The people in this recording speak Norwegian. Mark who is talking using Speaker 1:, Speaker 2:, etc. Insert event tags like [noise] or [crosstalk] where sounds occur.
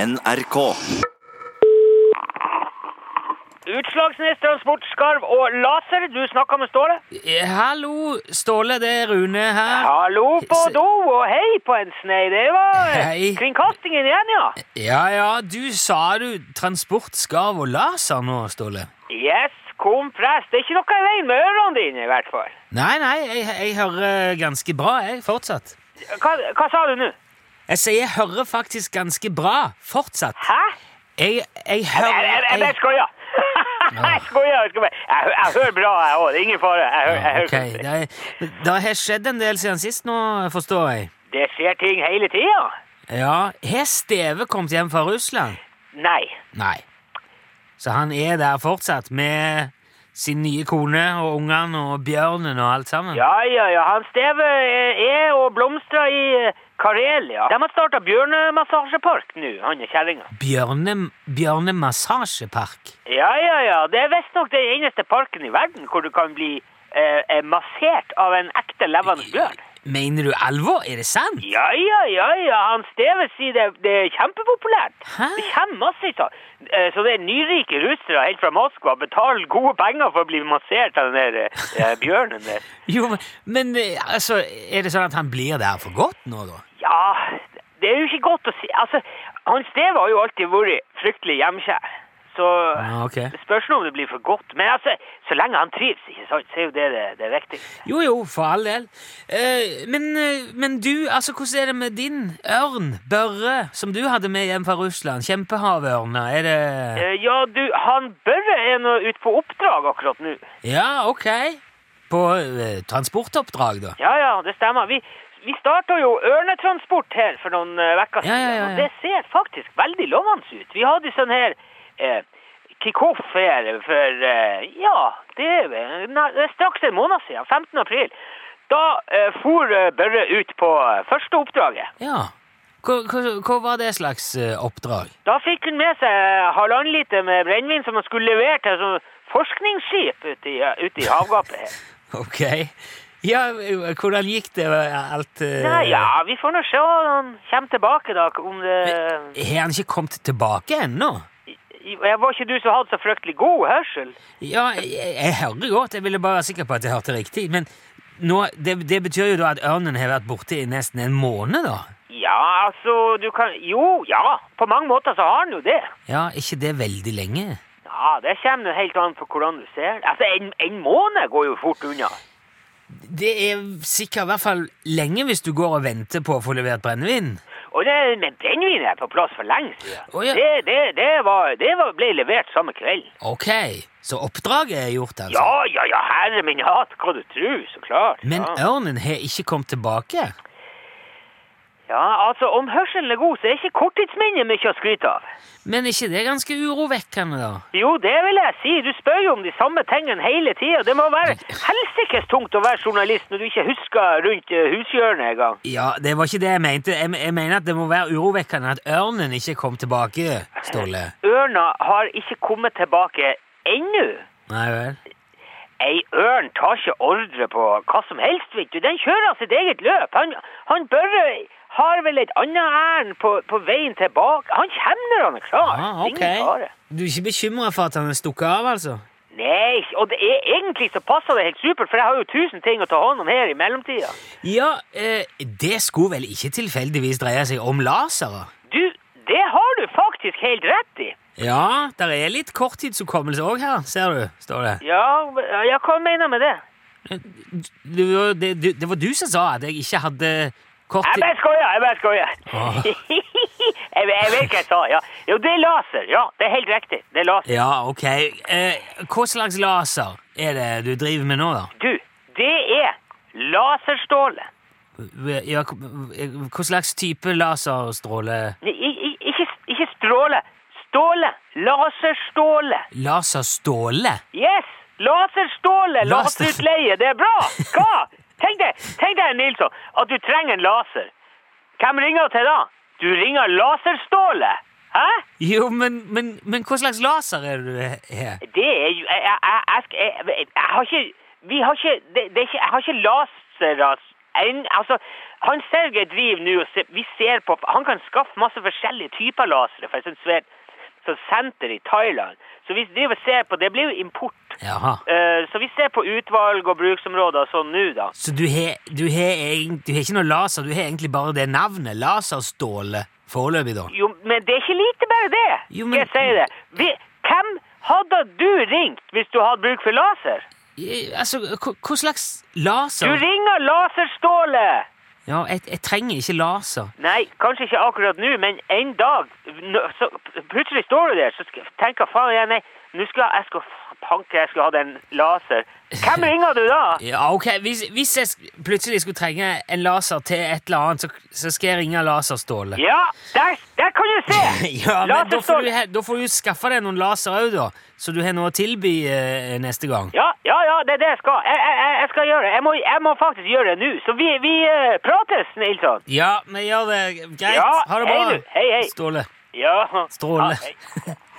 Speaker 1: NRK.
Speaker 2: Utslagsnes transportskarv og laser, du snakker med Ståle.
Speaker 3: Eh, Hallo, Ståle, det er Rune her.
Speaker 2: Hallo på
Speaker 3: Se-
Speaker 2: do, og hei på en snei. Det var eh,
Speaker 3: Hei.
Speaker 2: kringkastingen igjen, ja.
Speaker 3: Ja, ja, du sa du transport, skarv og laser nå, Ståle.
Speaker 2: Yes, kompress. Det er ikke noe i veien med ørene dine, i hvert fall.
Speaker 3: Nei, nei, jeg, jeg hører eh, ganske bra, jeg, fortsatt.
Speaker 2: Hva, hva sa du nå?
Speaker 3: Jeg sier jeg hører faktisk ganske bra, fortsatt.
Speaker 2: Hæ?
Speaker 3: Jeg, jeg
Speaker 2: Jeg, jeg,
Speaker 3: hører
Speaker 2: jeg, jeg
Speaker 3: jeg,
Speaker 2: [laughs] skoia. Jeg skoia. Jeg, skoia. jeg, hø- jeg hører bra, jeg òg. Det er ingen fare. Jeg, hø- jeg, hører
Speaker 3: Ok, det, er- det har skjedd en del siden sist nå, forstår jeg.
Speaker 2: det skjer ting hele tida.
Speaker 3: Ja, har Steve kommet hjem fra Russland?
Speaker 2: Nei.
Speaker 3: Nei. Så han er der fortsatt med sin nye kone og ungene og bjørnen og alt sammen?
Speaker 2: Ja, ja, ja. Han Steve eh, er og blomstrer i eh, Karelia. De har starta bjørnemassasjepark nå, han er kjerringa.
Speaker 3: Bjørne, bjørnemassasjepark.
Speaker 2: Ja, ja, ja. Det er visstnok den eneste parken i verden hvor du kan bli eh, eh, massert av en ekte levende bjørn.
Speaker 3: Mener du alvor? Er det sant?
Speaker 2: Ja, ja, ja, ja. Han Steve sier det, det er kjempepopulært.
Speaker 3: Hæ?
Speaker 2: Det kommer masse av. Eh, så det er nyrike russere helt fra Moskva betaler gode penger for å bli massert av den der eh, bjørnen der.
Speaker 3: Jo, men- men eh, altså, er det sånn at han blir der for godt nå, da?
Speaker 2: Ja, det er jo ikke godt å si. Altså, han Steve har jo alltid vært fryktelig hjemskjær. Så
Speaker 3: Ja, ok.
Speaker 2: det spørs nå om det blir for godt. Men altså, så lenge han trives, ikke sant, så er jo det det, det viktigste.
Speaker 3: Jo, jo, for all del. Eh, men, eh, men du, altså, hvordan er det med din ørn, Børre, som du hadde med hjem fra Russland? Kjempehavørna, er det
Speaker 2: Eh, Ja, du, han Børre er nå ute på oppdrag akkurat nå.
Speaker 3: Ja, ok. På eh, transportoppdrag, da?
Speaker 2: Ja, ja, det stemmer. Vi, vi starta jo ørnetransport her for noen eh, uker
Speaker 3: Ja,
Speaker 2: siden,
Speaker 3: ja, ja, ja.
Speaker 2: og det ser faktisk veldig lovende ut. Vi hadde sånn her eh, kickoff her for eh, Ja, det er, vel- nei, det er straks en måned siden. 15. april. Da eh, for eh, Børre ut på eh, første oppdraget.
Speaker 3: Ja. Hva, hva, hva var det slags eh, oppdrag?
Speaker 2: Da fikk hun med seg eh, halvannen liter med brennevin som han skulle levere til et sånt forskningsskip ute i, eh, ute i havgapet her.
Speaker 3: [laughs] Ok. Ja, eh, hvordan gikk det? eh, Alt eh,
Speaker 2: Nei, ja, vi får nå se når han kommer tilbake, da. Om det
Speaker 3: Har han ikke kommet tilbake ennå?
Speaker 2: Jeg Var ikke du som hadde så fryktelig god hørsel?
Speaker 3: Ja, jeg, jeg hører godt. Jeg ville bare være sikker på at jeg hørte riktig. Men nå, det, det betyr jo da at ørnen har vært borte i nesten en måned, da.
Speaker 2: Ja, altså, du kan Jo, ja. På mange måter så har han jo det.
Speaker 3: Ja, er ikke det veldig lenge?
Speaker 2: Ja, Det kommer nå helt an på hvordan du ser det. Altså, en, en måned går jo fort unna.
Speaker 3: Det er sikkert i hvert fall lenge hvis du går og venter på å få levert brennevin.
Speaker 2: Og det med brennevinet er på plass for lenge siden.
Speaker 3: Å, ja.
Speaker 2: Det, det, det, var, det var, ble levert samme kveld.
Speaker 3: Ok, så oppdraget er gjort, altså.
Speaker 2: Ja, ja, ja, herre min hatt, hva du tror, så klart.
Speaker 3: Men
Speaker 2: ja.
Speaker 3: ørnen har ikke kommet tilbake?
Speaker 2: ja, altså, om hørselen er god, så er ikke korttidsminnet mye å skryte av.
Speaker 3: Men er ikke det ganske urovekkende, da?
Speaker 2: Jo, det vil jeg si. Du spør jo om de samme tingene hele tida. Det må være helsikes tungt å være journalist når du ikke husker rundt eh, hushjørnet engang.
Speaker 3: Ja, det var ikke det jeg mente. Jeg, jeg mener at det må være urovekkende at ørnen ikke kom tilbake, Ståle.
Speaker 2: Ørna har ikke kommet tilbake ennå.
Speaker 3: Nei vel?
Speaker 2: Ei ørn tar ikke ordre på hva som helst, vet du. Den kjører sitt eget løp. Han, han Børre har vel et annet ærend på, på veien tilbake. Han kommer når han er klar.
Speaker 3: Ah,
Speaker 2: Det er
Speaker 3: ok.
Speaker 2: Ingen fare.
Speaker 3: Du er ikke bekymra for at han er stukket av, altså?
Speaker 2: Nei, og det er egentlig så passer det helt supert, for jeg har jo tusen ting å ta hånd om her i mellomtida.
Speaker 3: Ja, eh, det skulle vel ikke tilfeldigvis dreie seg om lasere?
Speaker 2: Du, det har du faktisk helt rett i.
Speaker 3: Ja, der er litt korttidshukommelse òg her, ser du, står det.
Speaker 2: Ja, ja hva mener du med det?
Speaker 3: Det var, det, det, det var du som sa at jeg ikke hadde
Speaker 2: Jeg
Speaker 3: korttid...
Speaker 2: bare skoja, jeg bare skoja.
Speaker 3: Åh.
Speaker 2: [laughs] jeg, jeg vet hva jeg sa, ja. Jo, det er laser. Ja, det er helt riktig. Det er laser.
Speaker 3: Ja, ok. Eh, hva slags laser er det du driver med nå, da?
Speaker 2: Du, det er laserstråle.
Speaker 3: Ja, hva hva slags type laserstråle
Speaker 2: I, i, ikke, ikke stråle. Ståle. Laserståle.
Speaker 3: Laserståle?
Speaker 2: Yes! Laserståle,
Speaker 3: Laser-
Speaker 2: laserutleie. Det er bra! Hva? Tenk deg, tenk deg Nilsson, at du trenger en laser. Hvem ringer til da? Du ringer laserståle. Hæ?
Speaker 3: Jo, men, men, men hva slags laser er det du har?
Speaker 2: Det er jo Jeg, jeg, jeg, jeg, skal- jeg, jeg har ikke Vi har ikke det, det er ikke Jeg har ikke laser, altså. En, altså Han Sergej driver nå og se- vi ser på Han kan skaffe masse forskjellige typer lasere fra et sånt svært sånt senter i Thailand. Så vi driver og ser på Det blir jo import.
Speaker 3: Jaha.
Speaker 2: Eh, så vi ser på utvalg og bruksområder og sånn nå, da.
Speaker 3: Så du har, du, har, egent- du har ikke noe laser, du har egentlig bare det navnet, Laserståle, foreløpig, da?
Speaker 2: Jo, men det er ikke lite bare det.
Speaker 3: Jo,
Speaker 2: skal
Speaker 3: men-
Speaker 2: Jeg sier det. Vi, hvem hadde du ringt hvis du hadde bruk for laser?
Speaker 3: I- Altså, hva hva slags
Speaker 2: Du
Speaker 3: laser?
Speaker 2: ringer Laserståle!
Speaker 3: Ja, jeg, jeg trenger ikke laser.
Speaker 2: Nei, kanskje ikke akkurat nå, men en dag nå- så Plutselig står du der så sk- tenker faen jeg, nei, nå skal jeg skal panke, jeg skulle hatt en laser.
Speaker 3: [laughs]
Speaker 2: Hvem ringer du da?
Speaker 3: Ja, ok, Hvis, hvis jeg sk- plutselig skulle trenge en laser til et eller annet, så, så skal jeg ringe Laserståle.
Speaker 2: Ja, der, der kan du se!
Speaker 3: [laughs] Ja, men da får, du,
Speaker 2: Laserståle.
Speaker 3: he- da får du skaffe deg noen laser òg, da, så du har noe å tilby eh, neste gang.
Speaker 2: Ja, ja, ja, det er det jeg skal. Jeg, jeg, jeg- jeg skal gjøre det. Jeg må, jeg må faktisk gjøre det nå. Så vi, vi eh, prates, Nilsson.
Speaker 3: Ja, vi gjør det. Greit.
Speaker 2: Ja,
Speaker 3: ha det
Speaker 2: hei
Speaker 3: bra.
Speaker 2: du. Hei, hei.
Speaker 3: Ståle.
Speaker 2: Ja.
Speaker 3: Stråle.
Speaker 2: Ja, hei.